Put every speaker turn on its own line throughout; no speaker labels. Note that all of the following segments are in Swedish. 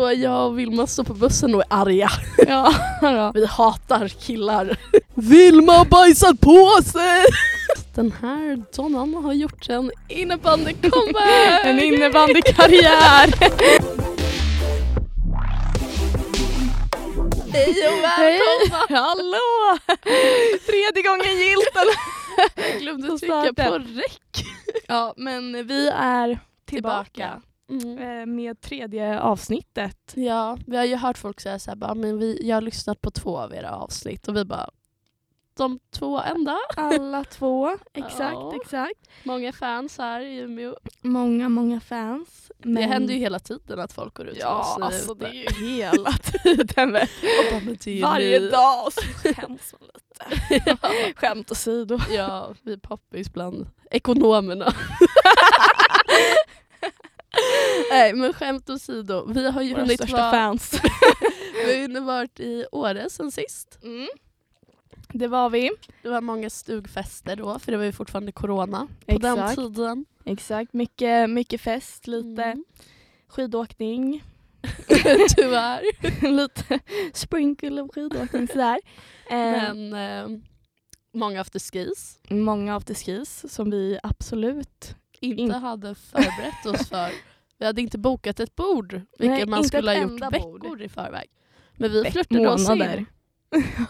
Och jag och Vilma står på bussen och är arga.
Ja, då.
Vi hatar killar. Vilma har bajsat på sig! Den här donnan har gjort en innebandy-comeback!
En innebandykarriär.
Hej och välkomna!
Hallå! Tredje gången gillt. eller?
Jag glömde trycka
Starten.
på räck.
Ja, men vi är tillbaka,
Mm.
eh, med tredje avsnittet.
Ja, vi har ju hört folk säga såhär, bara, men vi, jag har lyssnat på två av era avsnitt och vi bara, de två enda?
Alla två. Exakt,
Ja.
exakt.
Många fans här i Umeå.
Många, många fans.
Det händer ju hela tiden att folk går ut
Ja,
till oss.
alltså det är ju hela tiden. men
Och bara, men det är ju
Varje
ni.
dag så skäms man lite. Skämt åsido.
Ja, vi är poppis bland ekonomerna. Nej men skämt åsido, vi har ju
Våra
hunnit
största
vara,
fans.
vi har hunnit varit i Åre sen sist.
Mm. Det var vi.
Det var många stugfester då för det var ju fortfarande corona på den
Exakt.
tiden.
Exakt, mycket, mycket fest, lite
Mm.
skidåkning,
Tyvärr.
Eh. lite sprinkle av skidåkning sådär. Eh,
Men eh, många afterskis
många afterskis som vi absolut
inte
In-
hade förberett oss för. Vi hade inte bokat ett bord vilket
Nej,
man
inte
skulle
ett
ha gjort
enda
veckor
bord.
i förväg. Men vi
Veck-
flörtade oss
månader.
in.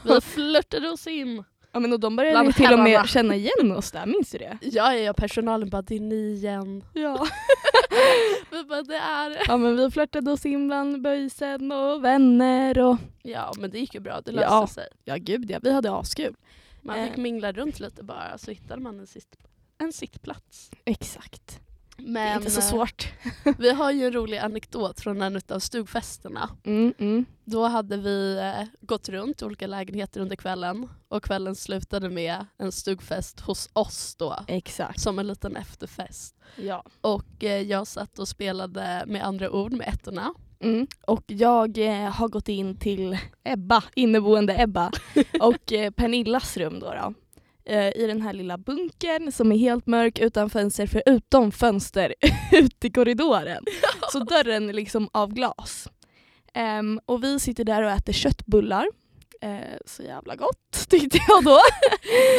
Vi flörtade oss in.
Ja men och de började
Bland
ju till och
herrarna.
med känna igen oss där, minns du det?
Ja, ja, ja, personalen bara det är ni igen.
Ja.
Vi bara det är det.
ja men vi flörtade oss in bland böjsen och vänner och
Ja men det gick ju bra, det löste
Ja.
sig.
ja gud ja, vi hade askul.
Man fick
Eh.
mingla runt lite bara så hittade man en, sitt, en sittplats.
Exakt. det är
Men
inte så
eh,
svårt.
vi har ju en rolig anekdot från en av stugfesterna.
Mm, mm.
Då hade vi eh, gått runt olika lägenheter under kvällen och kvällen slutade med en stugfest hos oss då.
Exakt.
Som en liten efterfest.
Ja.
Och eh, jag satt och spelade med andra ord med ettorna.
Mm. Och jag eh, har gått in till Ebba, inneboende Ebba och eh, Pernillas rum då, då eh, i den här lilla bunkern som är helt mörk utan fönster förutom fönster ute i korridoren. Så dörren är liksom av glas. Ehm, och vi sitter där och äter köttbullar. Eh, så jävla gott tyckte jag då.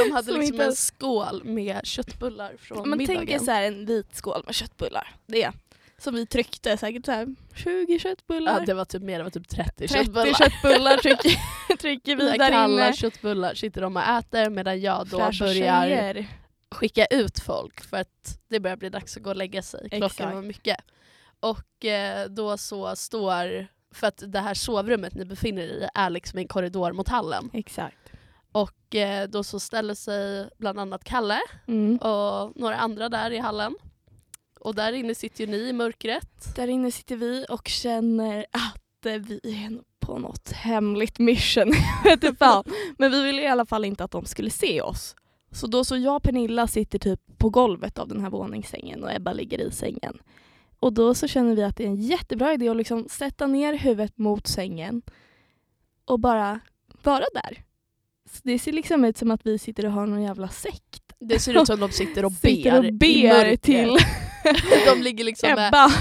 De hade
Som
liksom
inte-
en skål med köttbullar från
Men
middagen.
tänk er så här en vit skål med köttbullar. Det som vi tryckte säkert så här 20 köttbullar.
ja, det var typ mer, det var typ 30,
30
köttbullar.
köttbullar, trycker, trycker vi
Mina
där
kalla
inne.
köttbullar sitter de och äter medan jag då
Fräscha
börjar
tjejer.
skicka ut folk för att det börjar bli dags att gå och lägga sig. Klockan
Exakt.
var mycket. Och eh, då så står, för att det här sovrummet ni befinner er i är liksom en korridor mot hallen.
Exakt.
Och eh, då så ställer sig bland annat Kalle
Mm.
och några andra där i hallen. Och där inne sitter ju ni i mörkret.
Där inne sitter vi och känner att eh, vi är på något hemligt mission. Jag vet inte fan. Men vi ville i alla fall inte att de skulle se oss. Så då så jag och Pernilla sitter typ på golvet av den här våningssängen och Ebba ligger i sängen. Och då så känner vi att det är en jättebra idé att liksom sätta ner huvudet mot sängen och bara vara där. Så det ser liksom ut som att vi sitter och har någon jävla sekt.
Det ser ut som de sitter och ber,
sitter och
i
ber
mörkret.
till
De ligger liksom med,
Ebba.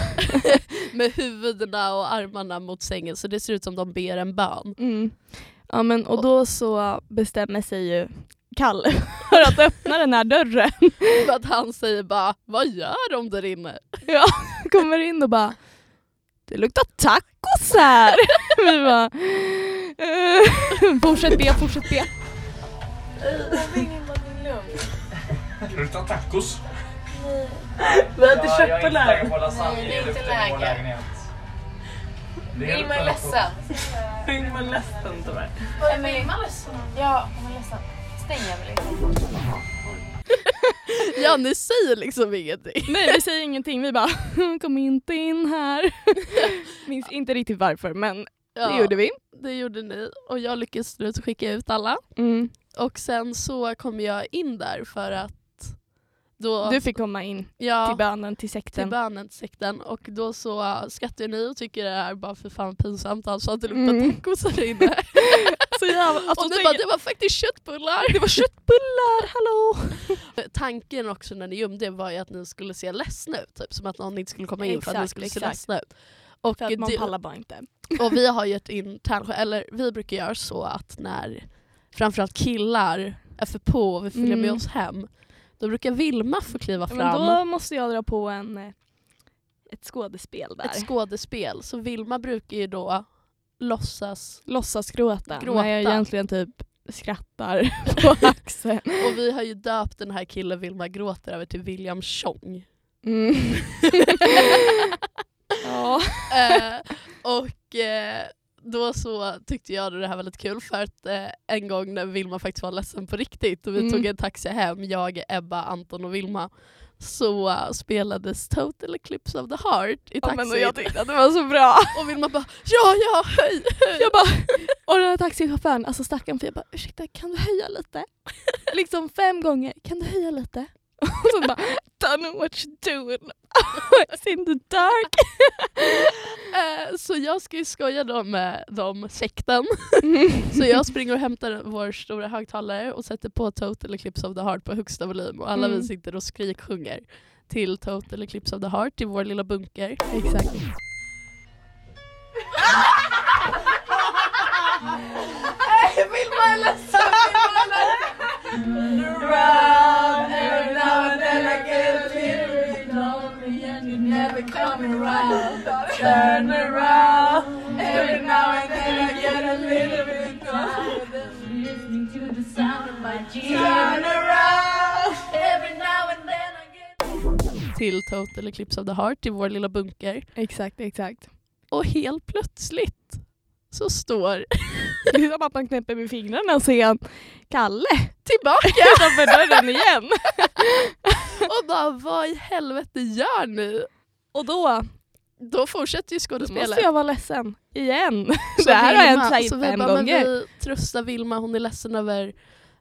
med huvudena och armarna mot sängen så det ser ut som de ber en bön.
Mm. Ja, men, och då så bestämmer sig ju Kalle för att öppna den här dörren.
För att han säger bara “Vad gör de där inne?”
Kommer in och bara det luktar tacos här! Vi bara... eh, fortsätt be, fortsätt be.
Det luktar tacos.
Vi äter
på lasagne. typ
Nej, det är inte Det luktar på vår läge. Vilma är ledsen.
Vilma är ledsen tyvärr.
Vilma ledsen? Ja, hon är ledsen. Stäng Emelie.
Ja, ni säger liksom ingenting.
Nej vi säger ingenting, vi bara kom inte in här. Minns inte riktigt varför men
Ja,
det gjorde vi.
det gjorde ni och jag lyckades till slut skicka ut alla.
Mm.
Och sen så kom jag in där för att då...
Du fick komma in
ja,
till bönen, till
till
sekten.
bönensekten och då så skrattar ni och tycker det här är bara för fan pinsamt alltså att det luktar
Mm.
tacos här inne.
Så jävla, alltså,
och ni
tänk-
bara “Det var faktiskt köttbullar”.
det var köttbullar, hallå!
Tanken också när ni gömde er var ju att ni skulle se ledsna ut, typ, som att någon inte skulle komma in för att ni
Exakt,
skulle se
exakt.
ledsna ut. Och,
För att man
det-
pallar bara inte.
och vi har gett in Tärnsjö, eller vi brukar göra så att när framförallt killar är för på och vill följa med
Mm.
oss hem, då brukar Vilma få kliva
Men
fram.
då måste jag dra på en, eh, ett skådespel där.
ett skådespel. Så Vilma brukar ju då låtsas,
Låtsas gråta,
Gråta.
när jag egentligen typ skrattar på axeln.
och vi har ju döpt den här killen Vilma gråter över till William Tjong.
Mm. ja.
eh, och eh, då så tyckte jag det här var lite kul för att eh, en gång när Vilma faktiskt var ledsen på riktigt och vi
Mm.
tog en taxi hem, jag, Ebba, Anton och Vilma, så eh, spelades Total Eclipse of the Heart i
ja
taxin.
men och
och,
jag tyckte att det var så bra.
Vilma bara ja, ja, hej!
Jag bara, och den här taxichauffören, alltså stackarn, för jag bara ursäkta kan du höja lite? liksom fem gånger, kan du höja lite? Och så bara, don't know what you're doing, it's in the dark.
Eh, så jag ska ju skoja då med de sekten. Så jag springer och hämtar vår stora högtalare och sätter på Total Eclipse of the Heart på högsta volym och alla
Mm.
vi sitter och skriksjunger till Total Eclipse of the Heart i vår lilla bunker.
Exakt.
Till Total Eclipse of the Heart i vår lilla bunker.
Exakt, exakt.
Och helt plötsligt så står
Det är som att man knäpper med fingrarna och ser en Kalle
tillbaka
utanför dörren igen.
och bara vad i helvete gör ni?
Och då
Då fortsätter ju skådespelet.
måste jag vara ledsen. Igen.
Så
det här har
Vilma-
hänt
så
säkert
vi
fem
bara, men
gånger.
Vi tröstar Vilma, hon är ledsen över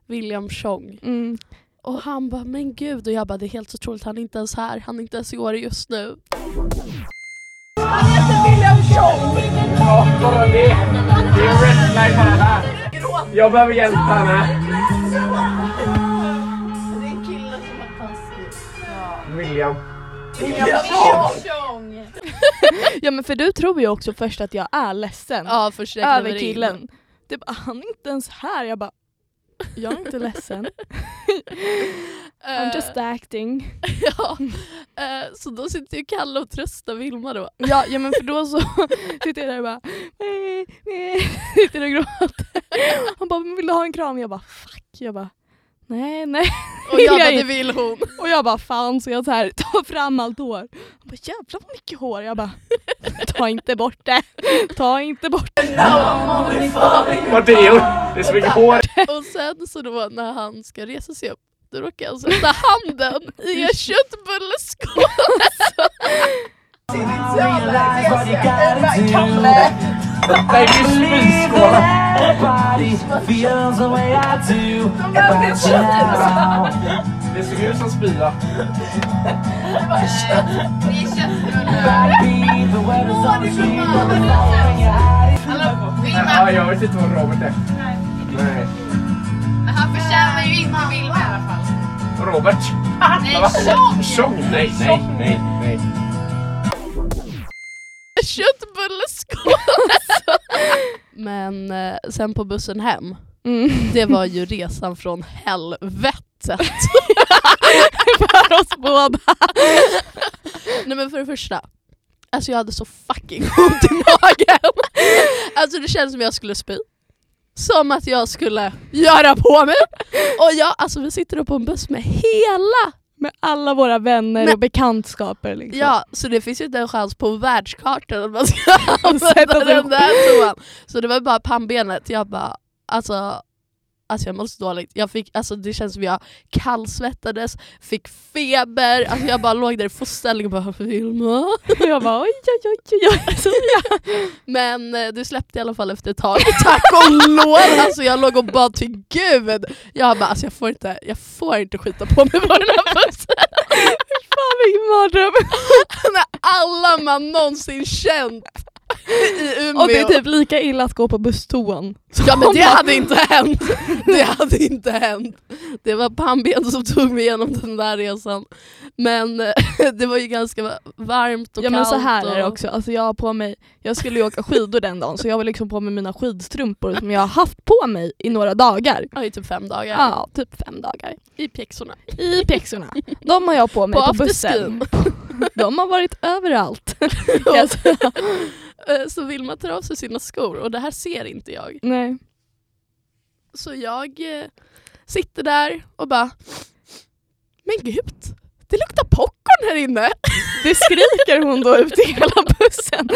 William Tjong.
Mm.
Och han bara, men gud. Och jag bara, det är helt otroligt, han är inte ens här. Han är inte ens i Åre just nu.
Ja, bara det. Det är red light här. Jag behöver hjälp här med.
Det är en kille som har konstigt.
William.
Tjong!
Ja men för du tror ju också först att jag är ledsen.
Ja, först räknar vi
över
in.
killen. Det bara, han är inte ens här. Jag bara, jag är inte ledsen.
Eh,
I'm just acting.
ja. Eh, så då sitter ju Kalle och tröstar Vilma då.
Ja, ja men för då så sitter jag där och bara, nej, nej. Sitter och gråter. Han bara, men vill du ha en kram? Jag bara, fuck. Jag bara, nej, nej.
Och jag
Vill jag
bara, det
inte.
vill hon.
Och jag bara, fan. Så jag så här, tar fram allt hår. Han bara, jävlar vad mycket hår. Jag bara, ta inte bort det. Ta inte bort det.
Vad det gjort? Det är så mycket hår.
Och sen så då när han ska resa sig upp, då råkar han sätta handen i en köttbulleskål.
Nej, det är svinskålar.
Everybody feels the way I do.
Det såg ut som spya.
Det är köttbullar.
Be the way the sun is
Hallå,
Ja,
Vilma!
jag vet inte vad Robert är. Nej.
Han förtjänar ju inte Vilma i alla fall.
Robert.
Nej, Tjong!
Tjong. Nej, nej, nej, nej.
köttbulleskål. Men eh, sen på bussen hem,
Mm.
det var ju resan från helvetet.
För oss båda.
Nej men för det första, alltså jag hade så fucking ont i magen. Alltså det kändes som jag skulle spy. Som att jag skulle göra på mig. Och jag, alltså vi sitter då på en buss med hela,
Med alla våra vänner
Men-
och bekantskaper. Liksom.
ja så det finns ju inte en chans på världskartan att man ska använda
Sätta sig
alltså, den där toan. Så det var bara pannbenet, jag bara alltså Alltså jag mådde så dåligt, jag fick, alltså det känns som jag kallsvettades, fick feber, alltså jag bara låg där i fosterställning och bara Vilma,
Och jag bara oj, oj, oj, oj, oj. Så
Men eh, du släppte i alla fall efter ett tag. Tack och lov! Alltså jag låg och bad till gud. Jag bara alltså jag får inte, jag får inte skita på mig på den här bussen.
fan vilken mardröm.
När alla man någonsin känt i Umeå.
Och det är typ lika illa att gå på busstoan.
Ja men
Om
det
man-
hade inte hänt! Det hade inte hänt. Det var pannbenet som tog mig igenom den där resan. Men eh, det var ju ganska va- varmt och
Ja
kallt.
men så här är det
och...
också, alltså jag, har på mig, jag skulle ju åka skidor den dagen så jag var liksom på mig mina skidstrumpor som jag har haft på mig i några dagar.
Ja, i typ fem dagar.
Ja, typ fem dagar.
I pjäxorna.
I pjäxorna. De har jag på mig
På
på, bussen.
afterskin.
De har varit överallt.
Och,
Alltså,
eh, så Vilma tar av sig sina skor och det här ser inte jag.
Nej.
Så jag eh, sitter där och bara Men gud, det luktar popcorn här inne!
Det skriker hon då ut i hela bussen.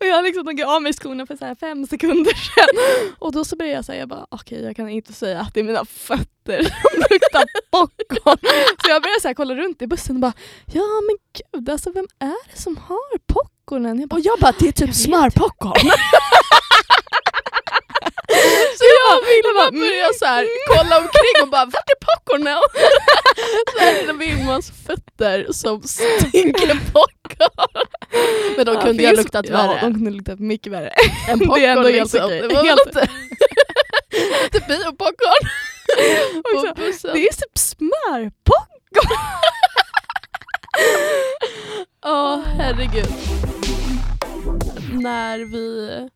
Och jag har liksom tagit av mig skorna för så här fem sekunder sedan. Och då så börjar jag säga, jag bara, okej jag kan inte säga att det är mina fötter som luktar popcorn. Så jag börjar så här kolla runt i bussen och bara, ja men gud alltså vem är det som har popcornen? Jag bara,
Och jag bara, det är typ
vet.
smörpopcorn. så jag och Vilma börjar så här, kolla omkring och bara, vart är popcornen? så här är det Vilmas fötter som stinker popcorn. Men de
"Ja,
kunde ju ha
finns-
luktat
Ja, de
värre.
kunde ha luktat mycket värre.
än
det är ändå helt
liksom-
okej.
Det var väl
Helt-
inte... Inte biopopcorn.
Och så,
På bussen.
Det är typ smörpopcorn!
Ja, herregud. När vi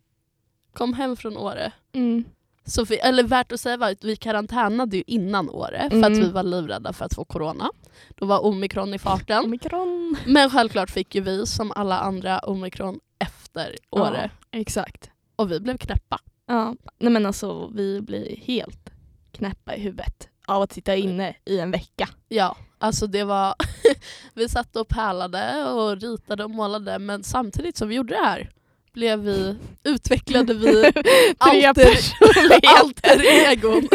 kom hem från Åre
Mm.
Så vi, eller värt att säga var att vi karantänade ju innan Åre för
Mm.
att vi var livrädda för att få corona. Då var omikron i
Mm.
farten.
Omikron.
Men självklart fick ju vi som alla andra omikron efter Åre.
Ja, exakt.
Och vi blev knäppa.
Ja, nej men alltså vi blir helt knäppa i huvudet av att sitta inne i en vecka.
Ja, alltså det var... vi satt och pärlade och ritade och målade men samtidigt som vi gjorde det här blev vi, utvecklade vi
Tre
alter-
personligheter.
alter egon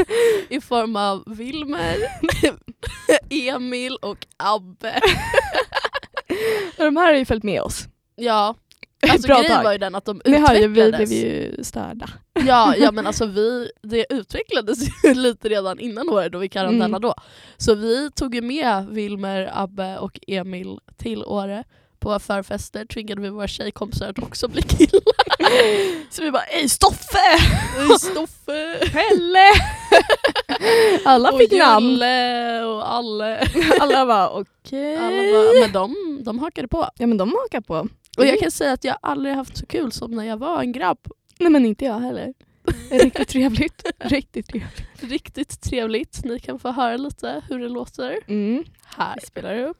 i form av Wilmer, Emil och Abbe.
Och de här har ju följt med oss.
Ja, alltså
Bra
grejen
tag.
var ju den att de
Ni hör ju, vi
utvecklades.
blev ju störda.
Ja, ja men alltså vi, det utvecklades ju lite redan innan året då vi karantänade
Mm.
då. Så vi tog ju med Wilmer, Abbe och Emil till Åre. På våra förfester triggade vi våra tjejkompisar att också bli killar.
Så vi bara ej Stoffe!
Stoffe,
Pelle! Alla
och
fick namn.
Julle och Alle.
Alla bara okej.
Alla bara, men de, de hakade på.
Ja men de hakar på.
Och jag kan säga att jag aldrig haft så kul som när jag var en grabb.
Nej men inte jag heller. Riktigt trevligt. Riktigt trevligt.
Riktigt trevligt. Ni kan få höra lite hur det låter
Mm.
här.
Spelar du upp?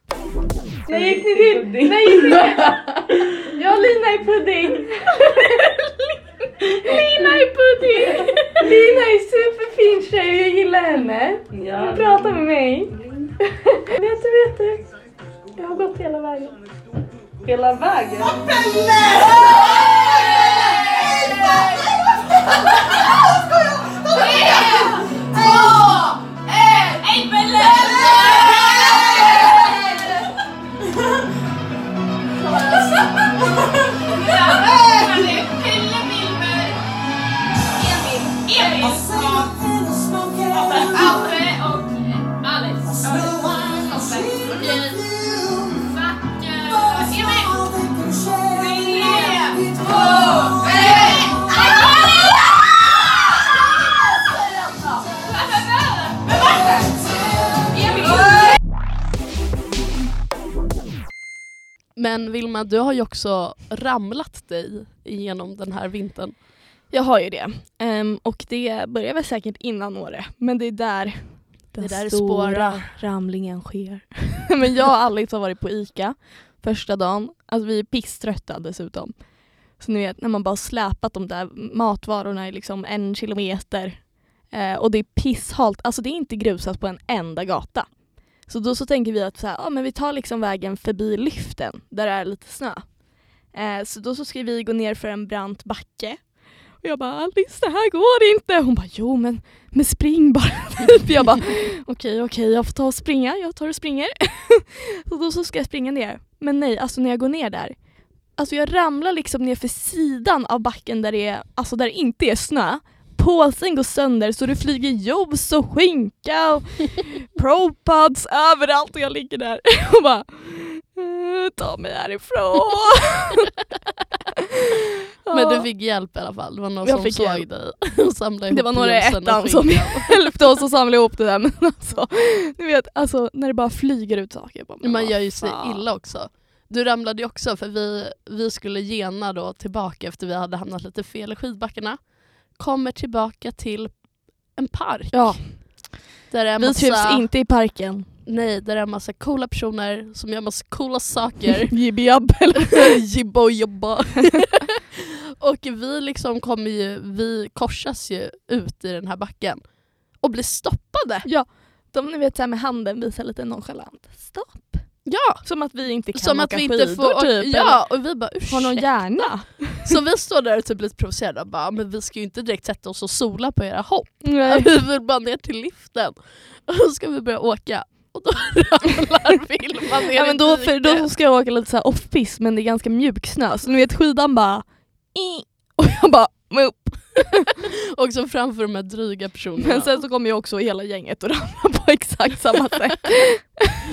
När gick ni till? När gick ni till? Jag och Lina i pudding. Lina i pudding. Lina är superfin tjej och jag gillar henne. Hon pratar med mig. Vet du, vet du? Jag har gått hela vägen. Hela vägen?
Men Vilma, du har ju också ramlat dig genom den här vintern.
Jag har ju det. Ehm, och det börjar väl säkert innan Åre, men det är där den
Det där är
stora
spåra.
ramlingen sker. men jag och Alex har varit på ICA första dagen. Alltså vi är pisströtta dessutom. Så ni vet när man bara har släpat de där matvarorna i liksom en kilometer eh, och det är pisshalt. Alltså det är inte grusat på en enda gata. Så då så tänker vi att så här, ja, men vi tar liksom vägen förbi lyften där det är lite snö. Eh, så då så ska vi gå ner för en brant backe och jag bara Alice det här går inte. Hon bara jo men, men spring bara. Typ. jag bara okej okej jag får ta och springa. Jag tar och springer. så då så ska jag springa ner. Men nej alltså när jag går ner där. Alltså jag ramlar liksom ner för sidan av backen där det, är, alltså där det inte är snö. Påsen går sönder så det flyger juice och skinka och propads överallt och jag ligger där och bara eh, ta mig härifrån.
Men du fick hjälp i alla fall, det var någon
Jag
som
fick
såg
hjälp.
dig och samlade ihop
Det var några i
juicen och
ettan
fick
som
den.
hjälpte oss att samla ihop det där. Men alltså, ni vet, alltså, när det bara flyger ut saker. Jag bara, men
Men Man
vad
gör ju sig
fan.
illa också. Du ramlade ju också för vi, vi skulle gena då tillbaka efter vi hade hamnat lite fel i skidbackarna. Kommer tillbaka till en park.
Ja,
Där det är en
vi trivs
massa,
inte i parken.
Nej, där det är en massa coola personer som gör massa coola saker.
Jibbijabb eller?
jibba och jobba. och vi liksom kommer ju, vi korsas ju ut i den här backen. Och blir stoppade.
De ni vet så här med handen visar lite nonchalant. Stopp.
Ja!
Som att vi inte kan
Som
åka
att vi inte
skidor
får... och-
typ. eller
ja, och vi bara
Har någon
ursäkta.
hjärna?
Så vi står där och typ lite provocerade och bara, men vi ska ju inte direkt sätta oss och sola på era hopp. Alltså,
Nej.
Vi vill bara ner till liften. Och då ska vi börja åka. Och då ramlar Vilma ner
Ja, men då,
i
för,
diket.
då ska jag åka lite så här off-piste men det är ganska mjuk snö så ni vet skidan bara i, och jag bara men upp.
Och så framför de här dryga personerna.
Men sen så kom ju också hela gänget och ramlade på exakt samma sätt.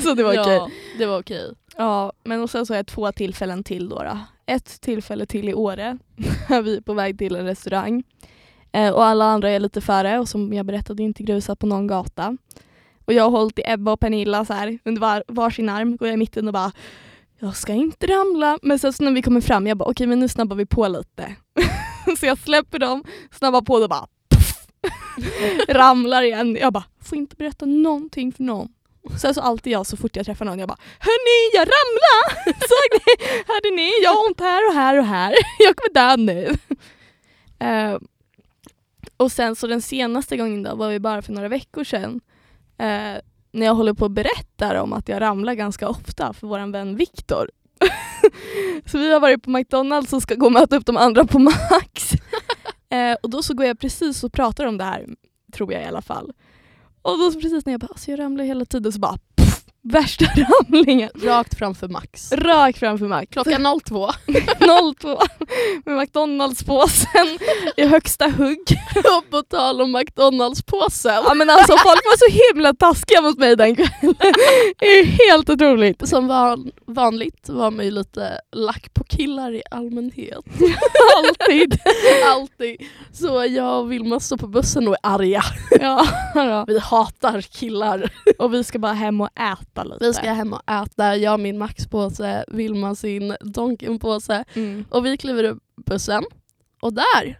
så det var okej.
Ja, det var okej.
Ja, men och sen så har jag två tillfällen till då. då. Ett tillfälle till i Åre när vi är på väg till en restaurang. Eh, och alla andra är lite före och som jag berättade inte grusat på någon gata. Och jag har hållit i Ebba och Pernilla så här under var, varsin arm, går jag i mitten och bara jag ska inte ramla. Men sen så när vi kommer fram, jag bara okej men nu snabbar vi på lite. så jag släpper dem, snabbar på och bara puff, ramlar igen. Jag bara får inte berätta någonting för någon. Sen så alltid jag så fort jag träffar någon jag bara Hörni jag ramlade! Såg ni? Hörde ni? Jag har ont här och här och här. Jag kommer dö nu. Eh, och sen så den senaste gången då var vi bara för några veckor sedan. eh, när jag håller på och berättar om att jag ramlar ganska ofta för våran vän Viktor. så vi har varit på McDonalds och ska gå och möta upp de andra på Max. Eh, och då så går jag precis och pratar om det här, tror jag i alla fall. Och då så precis när jag bara, alltså jag ramlar hela tiden så bara pff, värsta ramlingen.
Rakt framför Max.
Rök framför Max.
Klockan 02.
02 med McDonalds-påsen i högsta hugg.
Och på tal om McDonalds-påsen.
Ja men alltså folk var så himla taskiga mot mig den kvällen. Det är helt otroligt.
Som van, vanligt var man ju lite lack på killar i allmänhet.
Alltid.
Alltid. Så jag och Vilma står på bussen och är arga.
Ja, ja.
Vi hatar killar.
Och vi ska bara hem och äta lite.
Vi ska hem och äta, jag har min Max-påse, Vilma sin Donken-påse.
Mm.
Och vi kliver upp bussen och där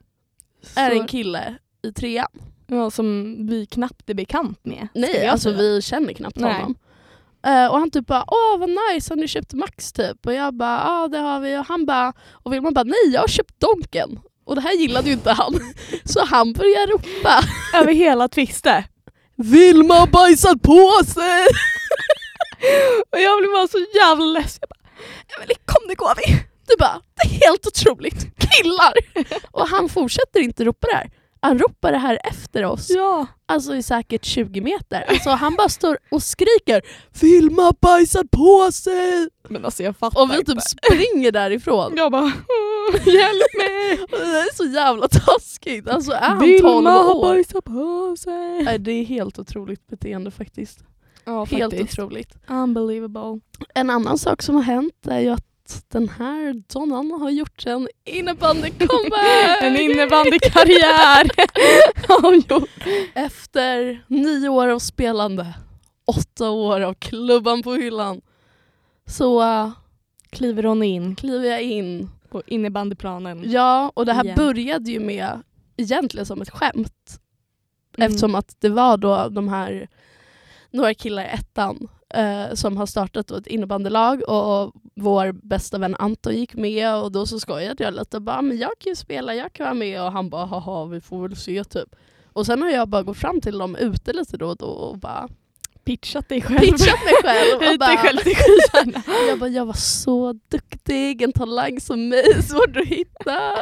är
Så-
en kille i trean.
ja, som vi knappt är bekant med. skulle
Nej,
jag
alltså
säga.
vi känner knappt
Nej.
honom. Eh, och han typ bara åh vad nice, har ni köpt Max typ? Och jag bara ja det har vi. Och han bara, och Vilma bara nej jag har köpt Donken. Och det här gillade ju inte han. Så han börjar ropa
Över hela Twiste.
Vilma har bajsat på sig!
Och jag blev bara så jävla ledsen. Jag bara, Emelie kom nu går vi.
Du bara, det är helt otroligt. Killar! Och han fortsätter inte ropa det här. Han ropar det här efter oss,
Ja.
alltså i säkert 20 meter. Alltså han bara står och skriker Vilma har bajsat på sig!
Men alltså jag fattar
Och vi typ springer därifrån.
Jag bara hjälp mig.
Och Det är så jävla taskigt. Alltså är han 12
Vilma har
år?
bajsat på sig.
Nej, det är helt otroligt beteende faktiskt.
Ja,
helt
faktiskt.
otroligt.
Unbelievable.
En annan sak som har hänt är ju att den här donnan har gjort en innebandycomeback!
En innebandykarriär har hon gjort.
Efter nio år av spelande, åtta år av klubban på hyllan, så eh,
Kliver hon in
kliver jag in.
på innebandyplanen.
Ja, och det här
Igen.
började ju med egentligen som ett skämt.
Mm.
Eftersom att det var då de här några killar i ettan eh, som har startat då ett innebandylag och vår bästa vän Anton gick med och då så skojade jag lite och bara men jag kan ju spela, jag kan vara med och han bara haha vi får väl se typ. Och sen har jag bara gått fram till dem ute lite då och då och bara
Pitchat dig själv.
pitchat mig själv. Och
Höjt dig
bara,
själv till skyarna.
jag bara jag var så duktig, en talang som mig svårt att hitta.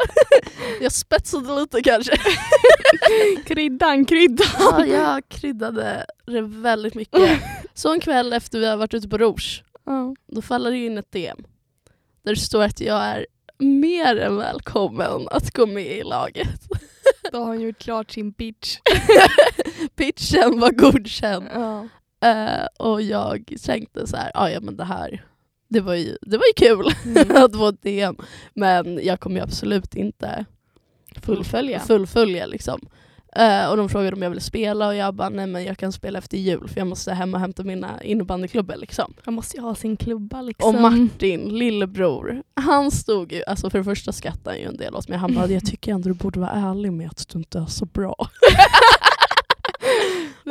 jag spetsade lite kanske.
Kryddan, kryddan.
Ja, jag kryddade det väldigt mycket. Så en kväll efter vi har varit ute på Rouge, då faller det in ett DM. Där det står att jag är mer än välkommen att gå med i laget.
Då har hon gjort klart sin pitch.
Pitchen var godkänd. Eh, och jag tänkte så här, "Ah, ja men det här, det var ju, det var ju kul
Mm.
att få ett DM. Men jag kommer ju absolut inte
Fullfölja.
fullfölja liksom. Eh, och de frågade om jag ville spela och jag bara nej men jag kan spela efter jul för jag måste hem och hämta mina innebandyklubbor liksom.
Han måste ju ha sin klubba liksom.
Och Martin, lillebror, han stod ju, alltså för det första skrattade han ju en del åt mig. Han bara jag tycker ändå du borde vara ärlig med att du inte är så bra.
Du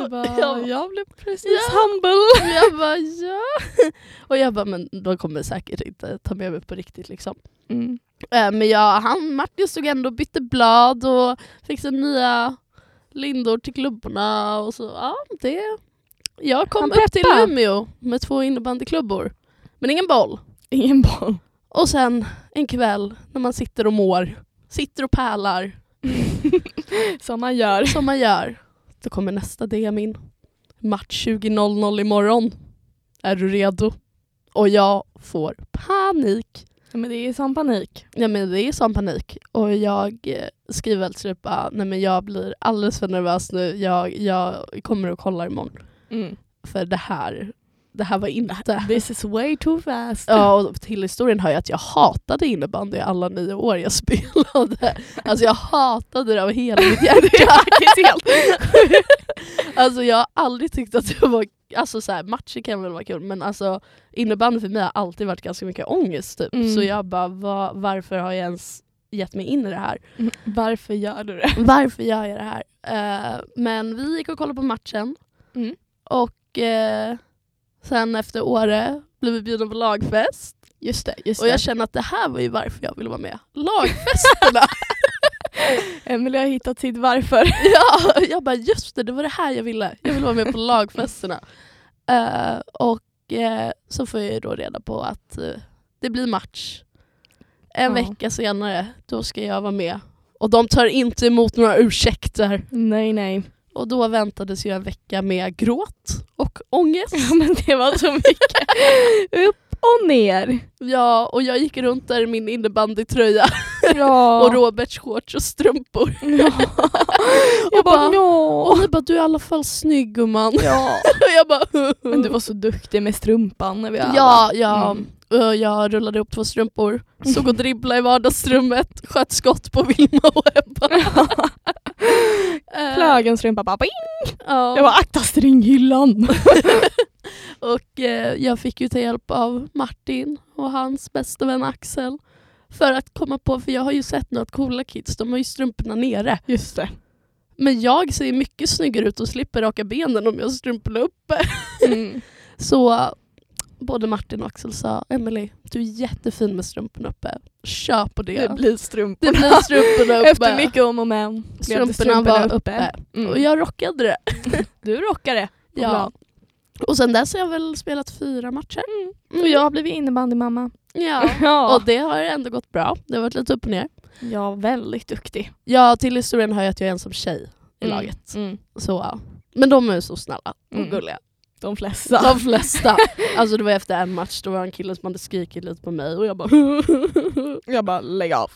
Ja.
bara, jag blev precis
Ja.
humble.
Och jag bara ja. Och jag bara men de kommer säkert inte ta med mig på riktigt liksom.
Mm.
Eh, Men ja, han, Martin stod ändå och bytte blad och fixade nya lindor till klubborna och så ja, det. Jag kom
Han
upp till
peppar.
Umeå med två innebandyklubbor. Men ingen boll.
Ingen boll.
Och sen en kväll när man sitter och mår, sitter och pärlar
Som man gör.
som man gör. Då kommer nästa DM in. Match 20.00 imorgon. Är du redo? Och jag får panik.
Ja, men det är sån panik.
Ja men det är sån panik. Och jag eh, skriver till typ bara, nej men jag blir alldeles för nervös nu. Jag, jag kommer och kollar imorgon. För det här, det här var inte...
Mm. This is way too fast.
Ja, och till historien hör jag att jag hatade innebandy i alla nio år jag spelade. Alltså jag hatade det av hela mitt
Det är
hjärta.
faktiskt helt...
Alltså jag har aldrig tyckt att det var, alltså så här, matcher kan väl vara kul men alltså innebandy för mig har alltid varit ganska mycket ångest typ.
Mm.
Så jag bara, va, varför har jag ens gett mig in i det här?
Varför gör du det?
Varför gör jag det här? Eh, men vi gick och kollade på matchen
Mm.
och eh, sen efter Åre blev vi bjudna på lagfest.
Just det, just
Och jag känner att det här var ju varför jag ville vara med. Lagfesterna!
Emelie har hittat sitt varför.
ja, jag bara just det, det var det här jag ville. Jag ville vara med på lagfesterna. Eh, och eh, så får jag ju då reda på att eh, det blir match. En
Ja.
vecka senare, då ska jag vara med. Och de tar inte emot några ursäkter.
Nej, nej.
Och då väntades ju en vecka med gråt och ångest.
Ja, men det var så mycket. Upp och ner.
Ja, och jag gick runt där i min innebandytröja
Ja.
och Roberts shorts och strumpor.
ja.
Och
Jag bara,
bara,
ja.
Och ni bara, du är i alla fall snygg gumman.
ja.
Och jag bara,
Men du var så duktig med strumpan när vi alla-
Ja, ja.
Mm.
Och Jag rullade upp två strumpor, såg och dribbla i vardagsrummet, sköt skott på Vilma och Ebba. Eh,
Flög en strumpa bara bing.
ja.
Jag bara akta stringhyllan.
Och eh, jag fick ju ta hjälp av Martin och hans bästa vän Axel för att komma på, för jag har ju sett nu att coola kids, de har ju strumporna nere.
Just det.
Men jag ser mycket snyggare ut och slipper raka benen om jag har strumporna uppe.
Mm.
Så eh, både Martin och Axel sa, Emily, du är jättefin med strumporna uppe. Kör på det.
Det blir strumporna.
Det blir strumporna uppe.
Efter mycket om och men. blev det
strumporna, var uppe.
Mm.
Och jag rockade det.
Du rockar det. Vad
Ja.
bra.
Och sen dess har jag väl spelat fyra matcher.
Och jag har blivit innebandymamma.
Ja.
Mm. Ja.
Och det har ändå gått bra. Det har varit lite upp och ner.
ja, väldigt duktig.
Ja, till historien hör jag att jag är ensam tjej i
Mm.
laget.
Mm.
Så, ja. men de är ju så snälla och
Mm.
gulliga.
De flesta.
De flesta. alltså det var efter en match, då var det en kille som hade skrikit lite på mig och jag bara
Jag bara lägg av.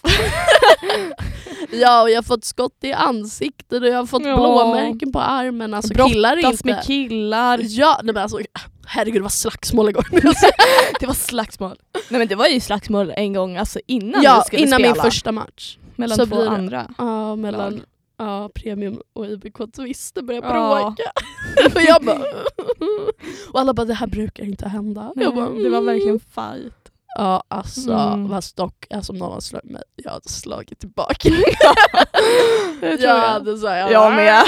Ja, och jag har fått skott i ansiktet och jag har fått
Ja.
blåmärken på armen. Alltså
Brottas
killar är inte...
med killar.
Ja, nej men alltså herregud vad slagsmål igår. alltså,
Det var slagsmål. Nej men det var ju slagsmål en gång alltså innan
ja,
du skulle
innan
spela.
min första match.
Mellan
så
två
blir det.
andra.
Ja, mellan
Lag.
ja, Premium och IBK Twister började
Ja.
bråka. och jag bara... och alla bara det här brukar inte hända.
Nej,
jag bara,
Det var
"Mm."
verkligen fight.
Ja alltså,
Mm.
fast dock, alltså, om någon hade slagit mig, jag hade slagit tillbaka.
Det
jag
tror jag.
hade så här, jag
Jag
bara,
med.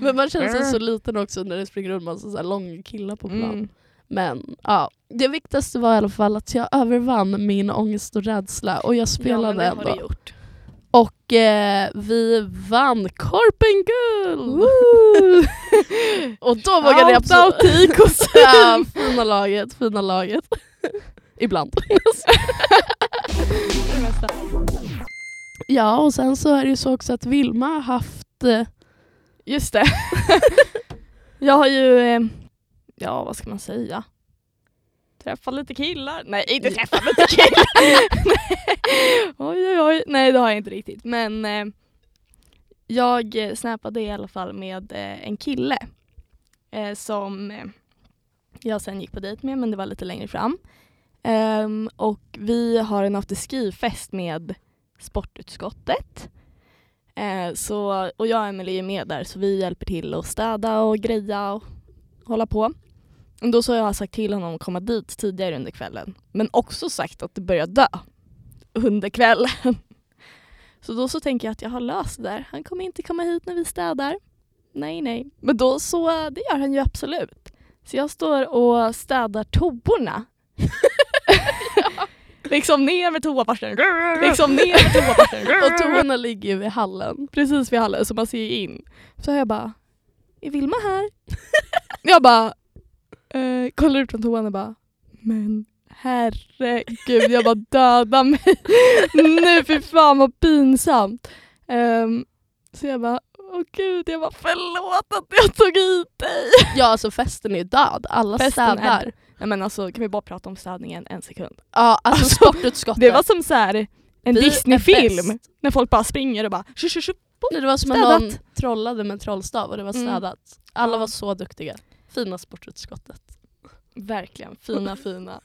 Men man känner sig så liten också när det springer runt massa så här långa killar på plan.
Mm.
Men ja, det viktigaste var i alla fall att jag övervann min ångest och rädsla och jag spelade
ja, men
ändå.
det har du gjort.
Och eh, vi vann Korpen Guld! och då vågade jag
Shout out till
absolut... ja, fina laget, fina laget. Ibland. ja, och sen så är det ju så också att Vilma har haft... eh,
Just det. jag har ju, eh, ja vad ska man säga? Träffat lite killar. Nej, inte träffat lite killar. Nej. oj, oj, oj. Nej, det har jag inte riktigt. Men eh, jag eh, snappade i alla fall med eh, en kille eh, som eh, jag sen gick på dejt med, men det var lite längre fram. Ehm, och vi har en afterski-fest med sportutskottet. Eh, så, och jag och Emily är med där så vi hjälper till att städa och greja och hålla på. Och då så har jag sagt till honom att komma dit tidigare under kvällen men också sagt att det börjar dö under kvällen. Så då så tänker jag att jag har löst det där. Han kommer inte komma hit när vi städar. Nej, nej. Men då så, eh, det gör han ju absolut. Så jag står och städar toorna. liksom ner med toaborsten. Liksom ner med toaborsten.
Och toorna ligger ju vid hallen.
precis vid hallen så man ser ju in. Så jag bara, är Vilma här? jag bara, eh, kollar ut från toan och bara, men herregud jag bara döda mig nu, fy fan vad pinsamt. Ehm, så jag bara, åh gud, jag bara förlåt att jag tog hit dig.
Ja alltså festen är ju död, alla
Festen är
städar.
död. Nej men alltså kan vi bara prata om städningen en sekund?
Ja alltså,
Alltså,
sportutskottet.
Det var som så här en
Vi är
Disney-film
bäst.
när folk bara springer och bara tju, tju, tju.
Nej, det var som att
städat.
någon trollade med en trollstav och det var
Mm.
städat. Alla
Ja.
var så duktiga. Fina sportutskottet.
Verkligen, fina fina.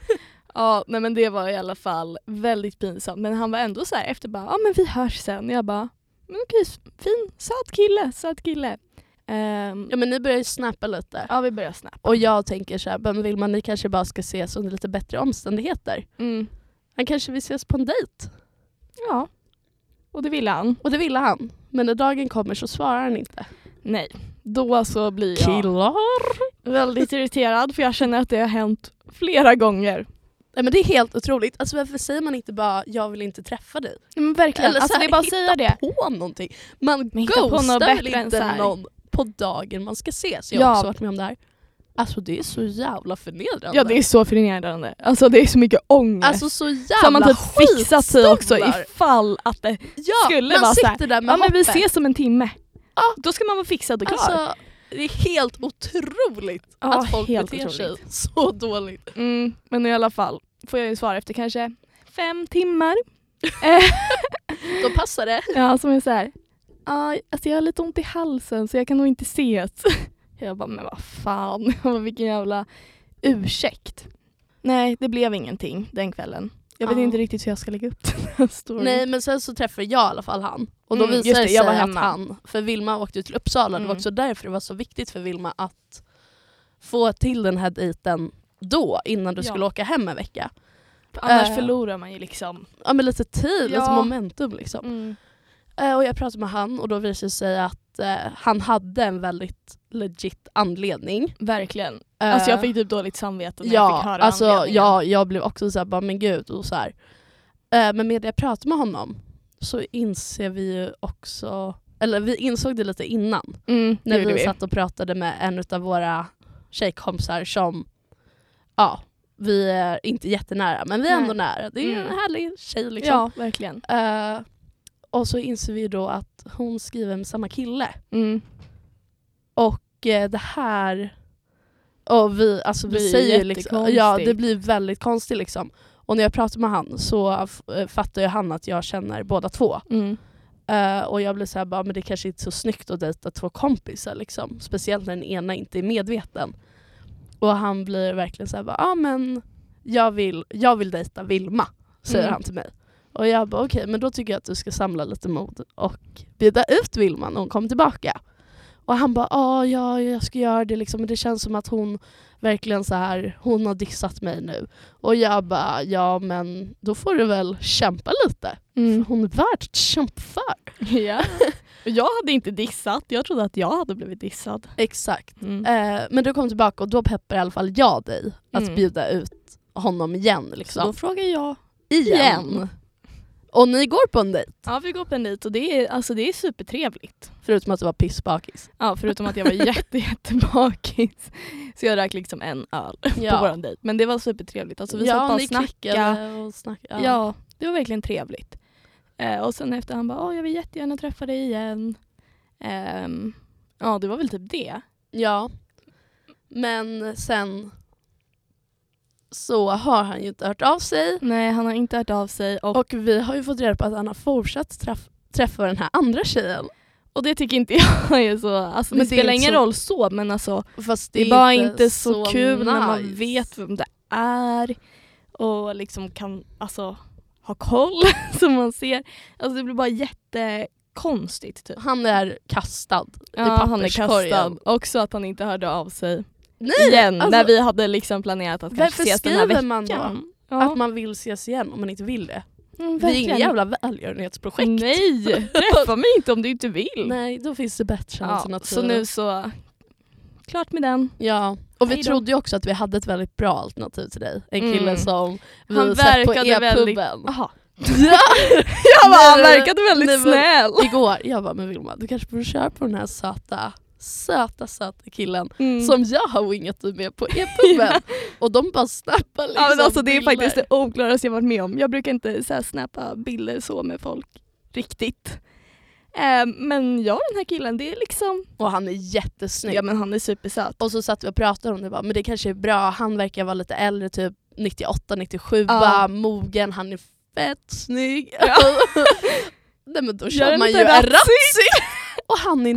ja nej men det var i alla fall väldigt pinsamt men han var ändå så här efter bara, ja men vi hörs sen. Jag bara, men okej fin, söt kille, söt kille. Ehm,
Ja men ni börjar ju snappa lite.
ja vi börjar snabbt.
Och jag tänker så här, men vill man ni kanske bara ska ses under lite bättre omständigheter.
Mm.
Han kanske vill ses på en dejt.
Ja. Och det ville han.
Och det ville han. Men när dagen kommer så svarar han inte.
Nej. Då så blir jag
Killar!
väldigt irriterad för jag känner att det har hänt flera gånger.
Nej men det är helt otroligt. Alltså varför säger man inte bara jag vill inte träffa dig?
Men verkligen,
Eller så
alltså
här,
det är bara att
hitta
säga det.
På någonting. Man
Men hitta på något
ghostar väl
bättre än så
inte
här.
någon på dagen man ska ses? Jag har
Ja.
också varit med om det här. Alltså det är så jävla förnedrande.
Ja det är så förnedrande. Alltså det är så mycket ångest.
Alltså så jävla
så har man typ fixat sig också
skitstövlar.
ifall att det,
ja,
skulle
man
vara så här,
sitter där med
ja men vi
hoppet.
ses om en timme.
Ja.
Då ska man vara fixad och klar.
Alltså, det är helt otroligt
Ja,
att folk
helt
beter sig
otroligt.
så dåligt.
Mm, men i alla fall får jag ju svar efter kanske fem timmar. Eh,
Då passar det.
ja som är såhär, ah, alltså jag har lite ont i halsen så jag kan nog inte ses. Jag bara, men vad fan, vilken jävla ursäkt. Nej, det blev ingenting den kvällen. Jag vet
Ja.
inte riktigt hur jag ska lägga upp den här storyn.
Nej men sen så träffar jag i alla fall han. Och då
Mm, just
visar det
det,
sig
jag var
att
hemma.
han, för Vilma åkte ju till Uppsala, det var
Mm.
också därför det var så viktigt för Vilma att få till den här dejten då, innan du
Ja.
skulle åka hem en vecka.
Annars
Eh.
förlorar man ju liksom.
Ja men lite tid, lite
Ja.
momentum liksom.
Mm.
Eh, och jag pratade med han och då visade det sig att eh, han hade en väldigt legit anledning.
Verkligen.
Eh,
Alltså jag fick typ dåligt samvete när jag
ja,
fick höra
alltså,
anledningen.
ja, jag blev också såhär, bara, men gud. Och så här. Eh, men med det jag pratade med honom så inser vi ju också, eller vi insåg det lite innan.
Mm, det
När
gjorde
vi, satt och pratade med en av våra tjejkompisar som, ja, vi är inte jättenära men vi är
Nej.
ändå nära. Det är en
Mm.
härlig tjej liksom.
Ja, verkligen.
Eh, och så inser vi ju då att hon skriver med samma kille.
Mm.
Och eh, det här... Och vi, alltså vi
Blir
säger ju liksom, ja det
jättekonstigt.
blir väldigt konstigt liksom. Och när jag pratar med han så eh, fattar ju han att jag känner båda två.
Mm.
Eh, och jag blir såhär, bara, men det kanske inte är så snyggt att dejta två kompisar liksom. Speciellt när den ena inte är medveten. Och han blir verkligen såhär, ja ah, men jag vill, jag vill dejta Vilma, säger
Mm.
han till mig. Och jag bara okej, men då tycker jag att du ska samla lite mod och bjuda ut Vilma när hon kommer tillbaka. Och han bara, ah, ja jag ska göra det liksom, men det känns som att hon verkligen så här, hon har dissat mig nu. Och jag bara, ja men då får du väl kämpa lite.
Mm.
Hon är värd att kämpa för.
ja. Och Jag hade inte dissat, jag trodde att jag hade blivit dissad.
Exakt.
Mm.
Eh, men du kom tillbaka och då peppar i alla fall jag dig att
Mm.
bjuda ut honom igen.
Så då
Liksom.
frågar jag. igen.
Och ni går på en dejt,
Ja vi går på en dejt och det är, alltså, det är supertrevligt.
förutom att du var pissbakis.
Ja, förutom att jag var jätte, jättebakis. Så jag drack liksom en öl på vår dejt. Men det var supertrevligt. Alltså, vi satt bara och
ni
snackade.
klickade och snackade.
Ja. det var verkligen trevligt. Eh, och sen efter han bara, "Åh, jag vill jättegärna träffa dig igen. Ehm, ja, det var väl typ det.
ja. Men sen så har han ju inte hört av sig
Nej, han har inte hört av sig och, och,
och vi har ju fått reda på att han har fortsatt träff träffa den här andra tjejen.
det tycker inte jag är så, alltså,
Men
det,
det är
spelar
inte
ingen
så-
roll så men alltså
Fast
det är bara inte så, kul när man vet vem det är och liksom kan alltså, ha koll som man ser. Alltså det blir bara jättekonstigt typ.
Han är kastad
Ja, han är
papperskorgen.
kastad. Också att han inte hörde av sig
Nej,
igen
alltså-
när vi hade liksom planerat att kanske
Varför
ses den här
skriver
veckan.
man då?
Ja.
Att man vill ses igen om man inte vill det.
Mm,
Det är
verkligen. Mm.
inget jävla välgörenhetsprojekt.
Nej, träffa mig inte om du inte vill.
Nej, då finns det bättre
ja,
alternativ.
så nu så, klart med den.
Ja, och vi
Hej då.
trodde ju också att vi hade ett väldigt bra alternativ till dig. En
Mm.
kille som vi
Han
sett på
verkade väldigt-
e-puben.
Aha.
Ja,
Jag bara, han
Nej, men-
verkade väldigt
nej, men-
snäll.
Igår, jag bara men Vilma du kanske borde köra på den här söta, söta, söta killen
Mm.
som jag har wingat dig med på e-puben. och de bara snappar liksom
ja, men alltså, det är
bilder.
faktiskt det oklaraste jag varit med om. Jag brukar inte så här, snappa bilder så med folk riktigt. Eh, men jag och den här killen, det är liksom...
Och han är jättesnygg.
Ja men han är supersöt.
Och så satt vi och pratade om det bara, men det kanske är bra, han verkar vara lite äldre, typ 98, 97,
Ja.
bara mogen, han är fett snygg. Alltså,
Ja.
Nej men då
Gör
kör
en
man ju
liten
en
razzia.
razzia! Och han är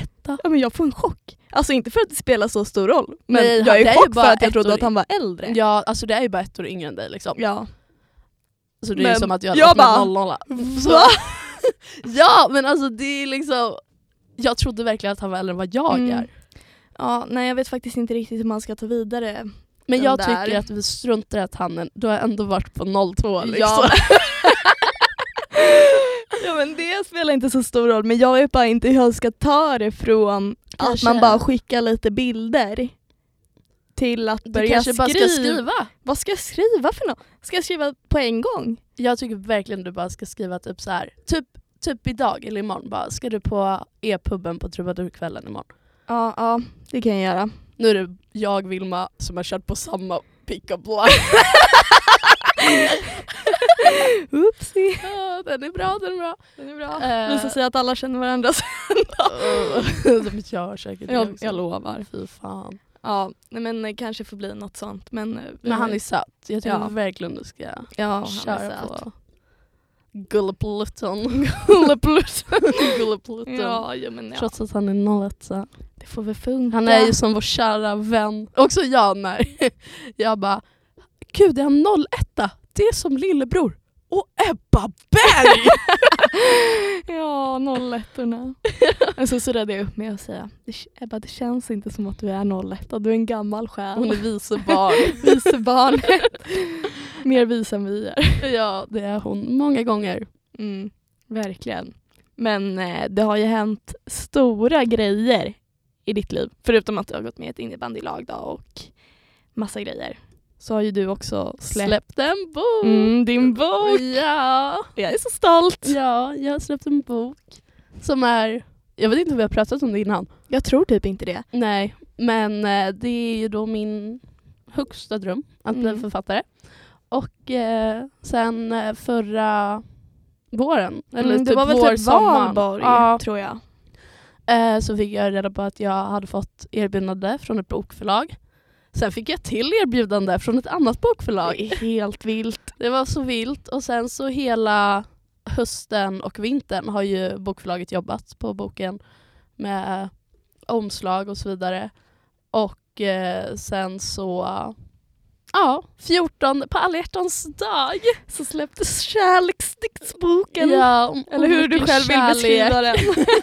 01.
Ja, men jag får en chock. Alltså inte för att det spelar så stor roll, men
Nej,
jag är
det är ju
i chock
bara
för att jag
ett
trodde
år
att han var äldre.
Ja, alltså det är ju bara ett år yngre än dig liksom.
Ja.
Så det är ju
Men
som att jag
jag
hade
bara,
varit med 00. Så- Ja men alltså det är liksom, jag trodde verkligen att han var äldre än vad jag
Mm.
är.
ja, nej jag vet faktiskt inte riktigt hur man ska ta vidare.
Men
Den
jag
där.
tycker att vi struntar i att han, är- du har ändå varit på 02 liksom.
Ja. Ja men det spelar inte så stor roll, men jag vet bara inte hur jag ska ta det från att
Kanske-
man bara skickar lite bilder till att
Du
börja
kanske bara
skriva.
ska skriva.
Vad ska jag skriva för något? Ska jag skriva på en gång?
Jag tycker verkligen du bara ska skriva typ så här. Typ, typ idag eller imorgon bara, ska du på e-puben på trubadurkvällen imorgon?
Ja, ja det kan jag göra.
Nu är det jag, Vilma, som har kört på samma pick up
Oopsie.
Den är bra, den är bra. Den är bra.
Det visar sig att alla känner varandra. så-
De gör säkert det
jag,
också.
jag lovar.
Fy fan.
Ja, nej, men eh, kanske får bli något sånt. Men, eh,
Men han är söt. Jag tycker
Ja.
verkligen du ska
ja,
köra
söt.
på Gulleplutten. Gulleplutten.
Ja, ja, men ja.
Trots att han är 01 så.
Det får väl funka.
Han är ju som vår kära vän. Också jag när jag bara, gud är han 01 Det är som lillebror. Och Ebba Berg!
Ja, nollettorna. Men så surrade jag upp med att säga, "Det- Ebba det känns inte som att du är nolletta, du är en gammal själ.
Hon är vicebarn.
visebarnet. Mer vis än vi är.
ja det är hon många gånger.
Mm, verkligen. Men eh, det har ju hänt stora grejer i ditt liv. Förutom att du har gått med i ett innebandylag då och massa grejer. Så har ju du också släppt
Släppte en bok!
mm, din bok.
Ja.
Jag är så stolt.
ja, jag har släppt en bok som är, jag vet inte om vi har pratat om det innan.
Jag tror typ inte det.
Nej, men eh, det är ju då min högsta dröm att
Mm.
bli författare. Och eh, sen eh, förra våren, eller
Mm, det
typ
var väl
vår,
typ
sommaren,
Valborg
ja,
tror jag.
eh, så fick jag reda på att jag hade fått erbjudande från ett bokförlag. Sen fick jag till erbjudande från ett annat bokförlag.
Det är helt vilt.
Det var så vilt och sen så hela hösten och vintern har ju bokförlaget jobbat på boken med omslag och så vidare. Och eh, sen så, ja, 14 på alla hjärtans dag.
Så släpptes kärleksdiktsboken.
Ja, om-
Eller
om
hur du
mycket
själv vill
kärlek,
beskriva den.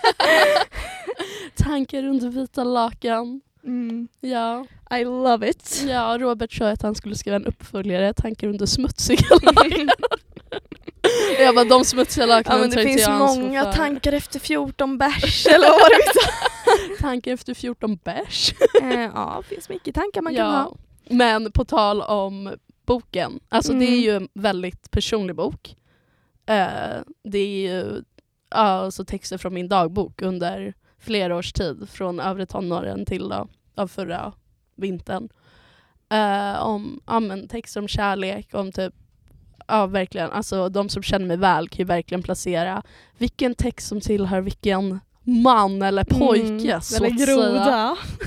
Tankar under vita lakan.
Mm.
Ja,
I love it.
ja Robert sa ju att han skulle skriva en uppföljare, Tankar under smutsiga lakan. Jag bara, de smutsiga lakanen
Ja, men
tar
det
inte
finns
jag ansvar
många
för.
tankar efter 14 bärs eller vad det vi sa.
Tankar efter 14 bärs.
Eh, Ja, det finns mycket tankar man kan
Ja.
ha.
Men på tal om boken, alltså det är
Mm.
ju en väldigt personlig bok. Eh, det är ju ja, alltså texter från min dagbok under flera års tid, från övre tonåren till då, av förra vintern. Eh, om ja, men texter om kärlek, om typ Ja verkligen, alltså de som känner mig väl kan ju verkligen placera vilken text som tillhör vilken man eller
Mm,
pojke så
Eller
att säga.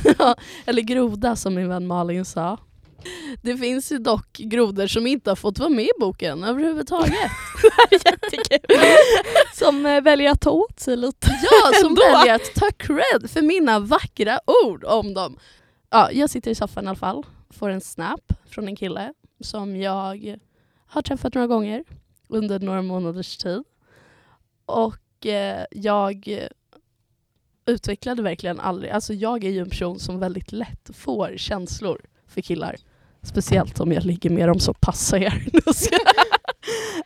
groda.
Eller groda som min vän Malin sa. Det finns ju dock grodor som inte har fått vara med i boken överhuvudtaget.
Som eh, väljer att ta åt sig lite.
Ja, som
Ändå.
väljer att ta cred för mina vackra ord om dem. Ja, jag sitter i soffan i alla fall, får en snap från en kille som jag har träffat några gånger under några månaders tid. Och eh, jag utvecklade verkligen aldrig, alltså jag är ju en person som väldigt lätt får känslor för killar. Speciellt om jag ligger med dem så passar jag. eh,
De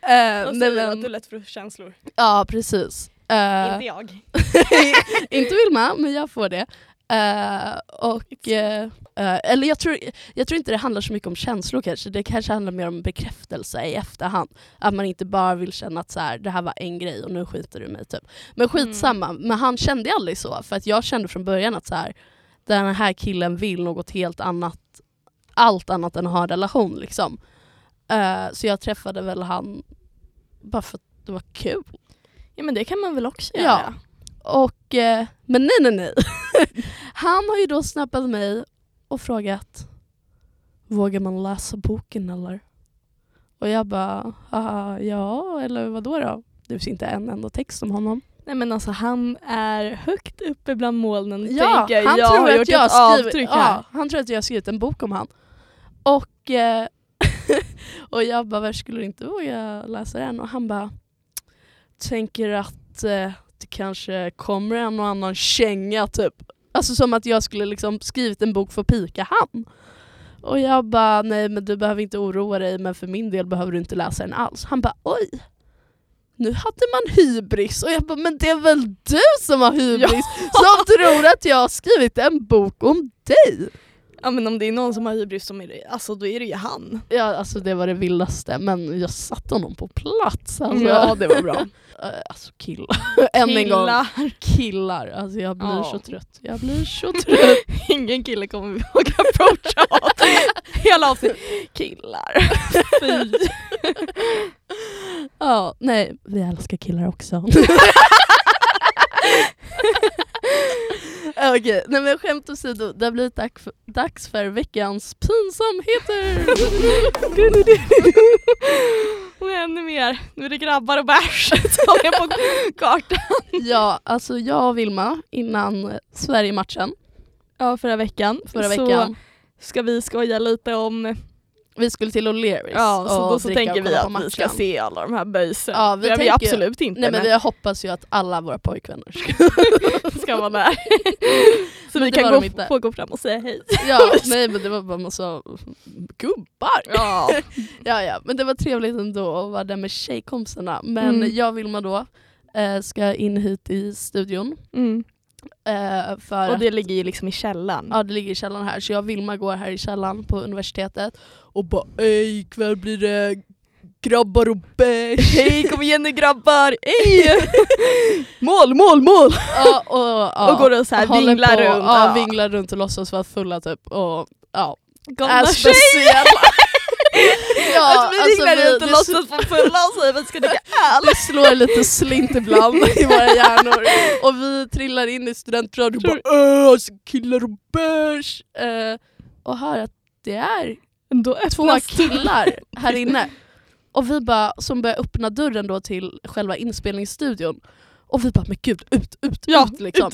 nej,
säger att
men,
du lätt får känslor.
ja, precis. Eh,
Inte jag.
inte Vilma, men jag får det. Eh, och, eh, eh, eller jag tror, jag tror inte det handlar så mycket om känslor kanske. Det kanske handlar mer om bekräftelse i efterhand. Att man inte bara vill känna att så här, det här var en grej och nu skiter du i mig. Typ.
Mm.
Men skitsamma, men han kände aldrig så. För att jag kände från början att så här, den här killen vill något helt annat. Allt annat än att ha en relation. Liksom. Eh, så jag träffade väl han bara för att det var kul.
Ja men det kan man väl också
Ja.
göra?
Och, eh, men nej, nej, nej. Han har ju då snappat mig och frågat Vågar man läsa boken eller? Och jag bara "Ah, ja, eller vad då? då? Det finns inte en enda text om honom.
Nej men alltså han är högt uppe bland molnen
Ja,
tänker jag.
han
jag
tror
har
att
gjort
jag
ett
skriver-
avtryck här.
ja, Han tror att jag har skrivit en bok om han. Och, eh, och jag bara, varför skulle du inte våga läsa den? Och han bara, tänker att eh, det kanske kommer en och annan känga typ. Alltså som att jag skulle liksom skrivit en bok för att pika han. Och jag bara, nej men du behöver inte oroa dig men för min del behöver du inte läsa den alls. Han bara, oj. Nu hade man hybris och jag bara, men det är väl du som har hybris som tror att jag har skrivit en bok om dig?
Ja men om det är någon som har hybris som är det, alltså då är det ju han.
Ja, alltså det var det vildaste men jag satte honom på plats. Alltså,
det var bra.
Eh, alltså killar. Än en gång.
Killar.
Killar. Alltså jag blir
Ja.
så trött. Jag blir så trött.
Ingen kille kommer vi våga approacha åt. Hela avsnittet. Killar. Fy.
Ja, nej, vi älskar killar också. Okej, nej men skämt åsido, det har blivit dags för, dags för veckans pinsamheter!
Och ännu mer. Nu är det grabbar och bärs som är på kartan.
ja, alltså jag och Vilma innan Sverige-matchen
Ja förra veckan.
förra veckan,
Så ska vi skoja lite om
vi skulle till O'Learys
Ja, så
och
då så
dricka och
tänker vi
kolla på
att vi ska
matchen.
se alla de här böjsen.
Ja, vi
vi det har vi
tänker-
absolut inte,
Nej men
men
vi hoppas ju att alla våra pojkvänner ska...
ska vara där. så
Men
vi
det
kan
var
gå,
de inte.
få gå fram och säga hej.
ja, nej men det var bara massa gubbar!
Ja.
Ja, ja, men det var trevligt ändå att vara där med tjejkompisarna. Men
Mm.
jag och Vilma då eh, ska in hit i studion.
Mm.
Eh, för
Och
att-
det ligger ju liksom i källaren.
Ja, det ligger i källaren här. Så jag och Vilma går här i källaren på universitetet och bara ej, ikväll blir det grabbar och bärs.
Hej kom igen nu grabbar! Hej! mål, mål, mål!
ja, och, ja.
Och går och så här
Håller
vinglar
på,
runt.
Ja, vinglar runt och låtsas vara fulla typ. Och, ja.
Galna tjejer!
ja, alltså,
Att alltså, vi vinglar
vi-
runt och
det
låtsas vara fulla och säger att vi ska dricka öl.
Det slår lite slint ibland i våra hjärnor. Och vi trillar in i studentradion och bara "Åh, alltså killar och bärs. Eh, och hör att det är
Då
två
öppnas
killar här inne. Och vi bara, som börjar öppna dörren då till själva inspelningsstudion. Och vi bara, men gud, ut, ut,
Ja,
ut liksom.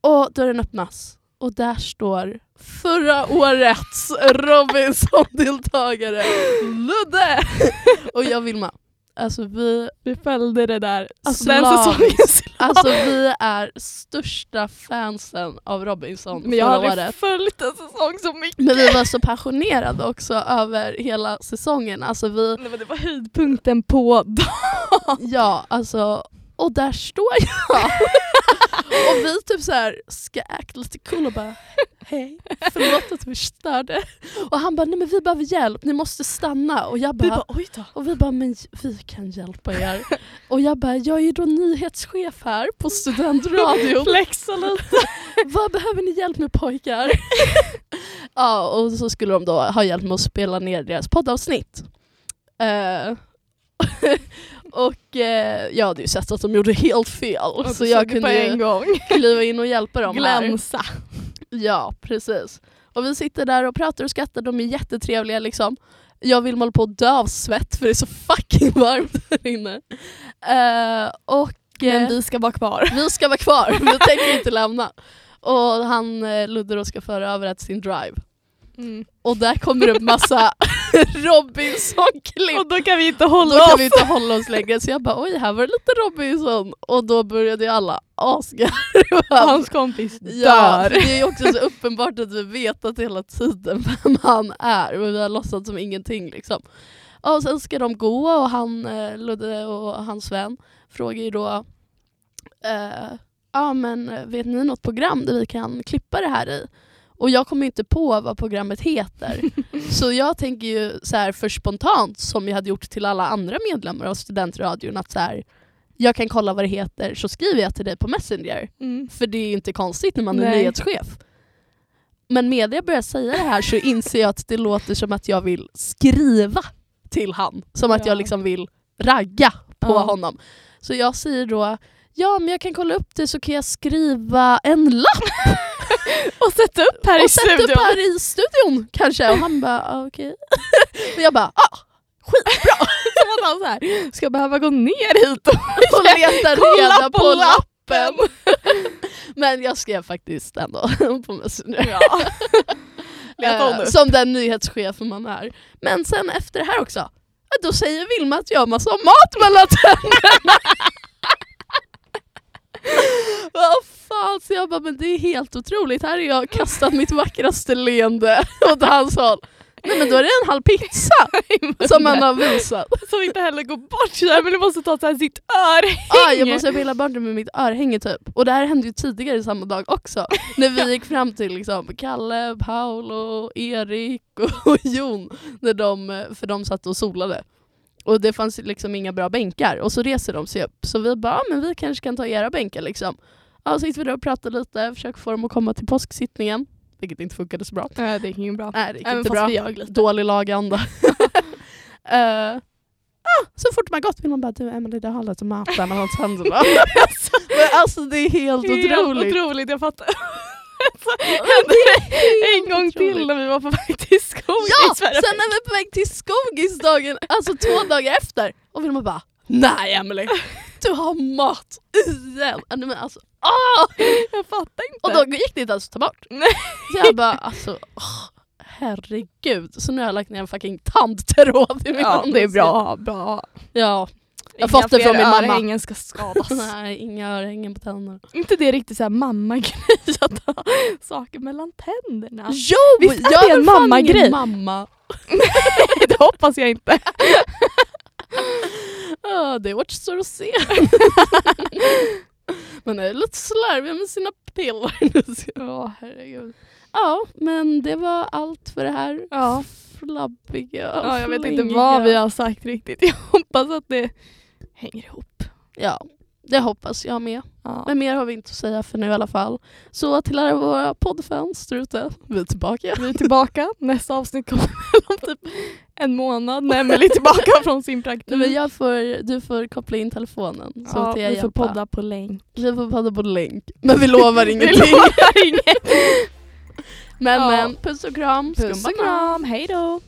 Och dörren öppnas. Och där står förra årets Robinson-deltagare Ludde! Och jag och Vilma. Alltså vi
Vi följde det där.
Alltså,
Den säsongen
slaviskt. Alltså vi är största fansen av Robinson
Men jag har
förra
aldrig
året.
följt en säsong så mycket.
Men vi var så passionerade också över hela säsongen. Alltså vi,
Nej, men det var höjdpunkten på dagen.
ja alltså, och där står jag. och vi typ så här ska act lite cool och bara hej, förlåt att vi störde. Och han bara nej men vi behöver hjälp, ni måste stanna. Och jag
Vi
bara
bara oj då.
Och vi bara, men vi kan hjälpa er. Och jag bara, jag är ju då nyhetschef här på studentradion.
Flexa lite.
Vad behöver ni hjälp med pojkar? ja, och så skulle de då ha hjälp med att spela ner deras poddavsnitt. Eh, och eh, jag hade ju sett att de gjorde helt fel så jag kunde
på en
ju
gång.
kliva in och hjälpa dem här.
Glänsa.
Ja, precis. Och vi sitter där och pratar och skrattar, de är jättetrevliga liksom. Jag vill måla på att dö av svett för det är så fucking varmt där inne. Eh, och, eh,
Men vi ska vara kvar.
vi ska vara kvar, vi tänker inte lämna.
Mm.
Och han eh, Ludde då ska föra över ett sin drive. Och där kommer det upp massa Robinson-klipp.
Och då kan vi inte hålla
Då kan
oss.
vi inte hålla oss längre. Så jag bara oj, här var det lite Robinson. Och då började ju alla asgarva.
Hans kompis
Ja,
dör.
för det är ju också så uppenbart att vi vetat hela tiden vem han är men vi har låtsats som ingenting liksom. Ja, Och sen ska de gå och han, eh, Ludde och hans vän frågar ju då eh, ja men eh, vet ni något program där vi kan klippa det här i? Och jag kommer ju inte på vad programmet heter. så jag tänker ju så här för spontant som jag hade gjort till alla andra medlemmar av studentradion att så här jag kan kolla vad det heter så skriver jag till dig på Messenger.
Mm.
För det är ju inte konstigt när man är
Nej.
nyhetschef. Men med det jag börjar säga det här så inser jag att det låter som att jag vill skriva till han. Som att
Ja.
jag liksom vill ragga på
Ja.
honom. Så jag säger då, ja men jag kan kolla upp det så kan jag skriva en lapp
Och sätta upp här i
och sätta upp
studion.
här i studion kanske. Och han bara, ah, okej. och jag bara, ah,
Som att han så här, ska jag behöva gå ner hit och
och leta
Kolla
reda
på
på, lappen. men jag skrev faktiskt ändå på Messenger.
Ja. Leta
Eh,
honom upp.
som den nyhetschef man är. Men sen efter det här också, ja, då säger Vilma att jag har massa mat mellan tänderna. Vad fan, så jag bara, men det är helt otroligt. Här har jag kastat mitt vackraste leende åt hans håll. Nej men då är det en halv pizza som man har visat.
Som inte heller går bort sådär men du måste ta så här sitt örhänge.
Ah, jag måste pilla bort det med mitt örhänge typ. Och det här hände ju tidigare samma dag också. När vi gick fram till liksom, Kalle, Paolo, Erik och, och Jon. När de, eh, för de satt och solade. Och det fanns ju liksom inga bra bänkar. Och så reser de sig upp. Så vi bara, ah, men vi kanske kan ta era bänkar liksom. Ja, så gick vi där och pratade lite, försökte få dem att komma till påsksittningen. Vilket inte funkade så bra.
Nej det gick inget bra.
Nej, det gick
Även
inte
fast
bra.
vi ljög lite.
Dålig laganda. Eh, ah, så fort man gått vill man bara du Emelie det har lite mat där mellan tänderna. Men alltså det är helt
Helt
otroligt.
otroligt, jag fattar. Så hände det en gång till
otroligt.
när vi var på väg till skogen
Ja! Sen
i Sverige.
är vi på väg till Skogis dagen, alltså två dagar efter. Och Vilma bara nej Emelie, du har mat igen. Ah, nej, Men alltså, ah!
Jag fattar inte.
Och då gick det inte ens att ta bort.
Nej.
Så jag bara alltså åh, herregud. Så nu har jag lagt ner en fucking tandtråd i min
ja, det är
ansikte.
bra. bra.
Ja. Jag har fått det från min mamma.
Ingen ska skadas.
Nej, inga örhängen på tänderna.
inte det riktigt såhär mammagrej att ha saker mellan tänderna.
Jo!
Visst är
jag
det en
är fan
mammagrej?
ingen mamma.
det hoppas jag inte.
Ah, det återstår att se. Men jag är lite slarvig med sina piller.
Ja herregud.
ja, men det var allt för det här
Ja.
flabbiga,
Ja, jag vet inte
flingiga-
vad vi har sagt riktigt. Jag hoppas att det hänger ihop.
Ja, det hoppas jag med.
Ja.
Men mer har vi inte att säga för nu i alla fall. Så till alla våra poddfans där ute, vi är tillbaka.
Vi är tillbaka. Nästa avsnitt kommer väl om typ en månad när Emelie är tillbaka från sin
Nej, men
praktik.
jag får, du får koppla in telefonen så
Ja,
att jag
vi får
hjälpa.
podda på länk.
Vi får podda på länk. Men vi lovar ingenting.
lovar inget.
Men,
Ja.
men puss och kram.
Puss och kram, hej då.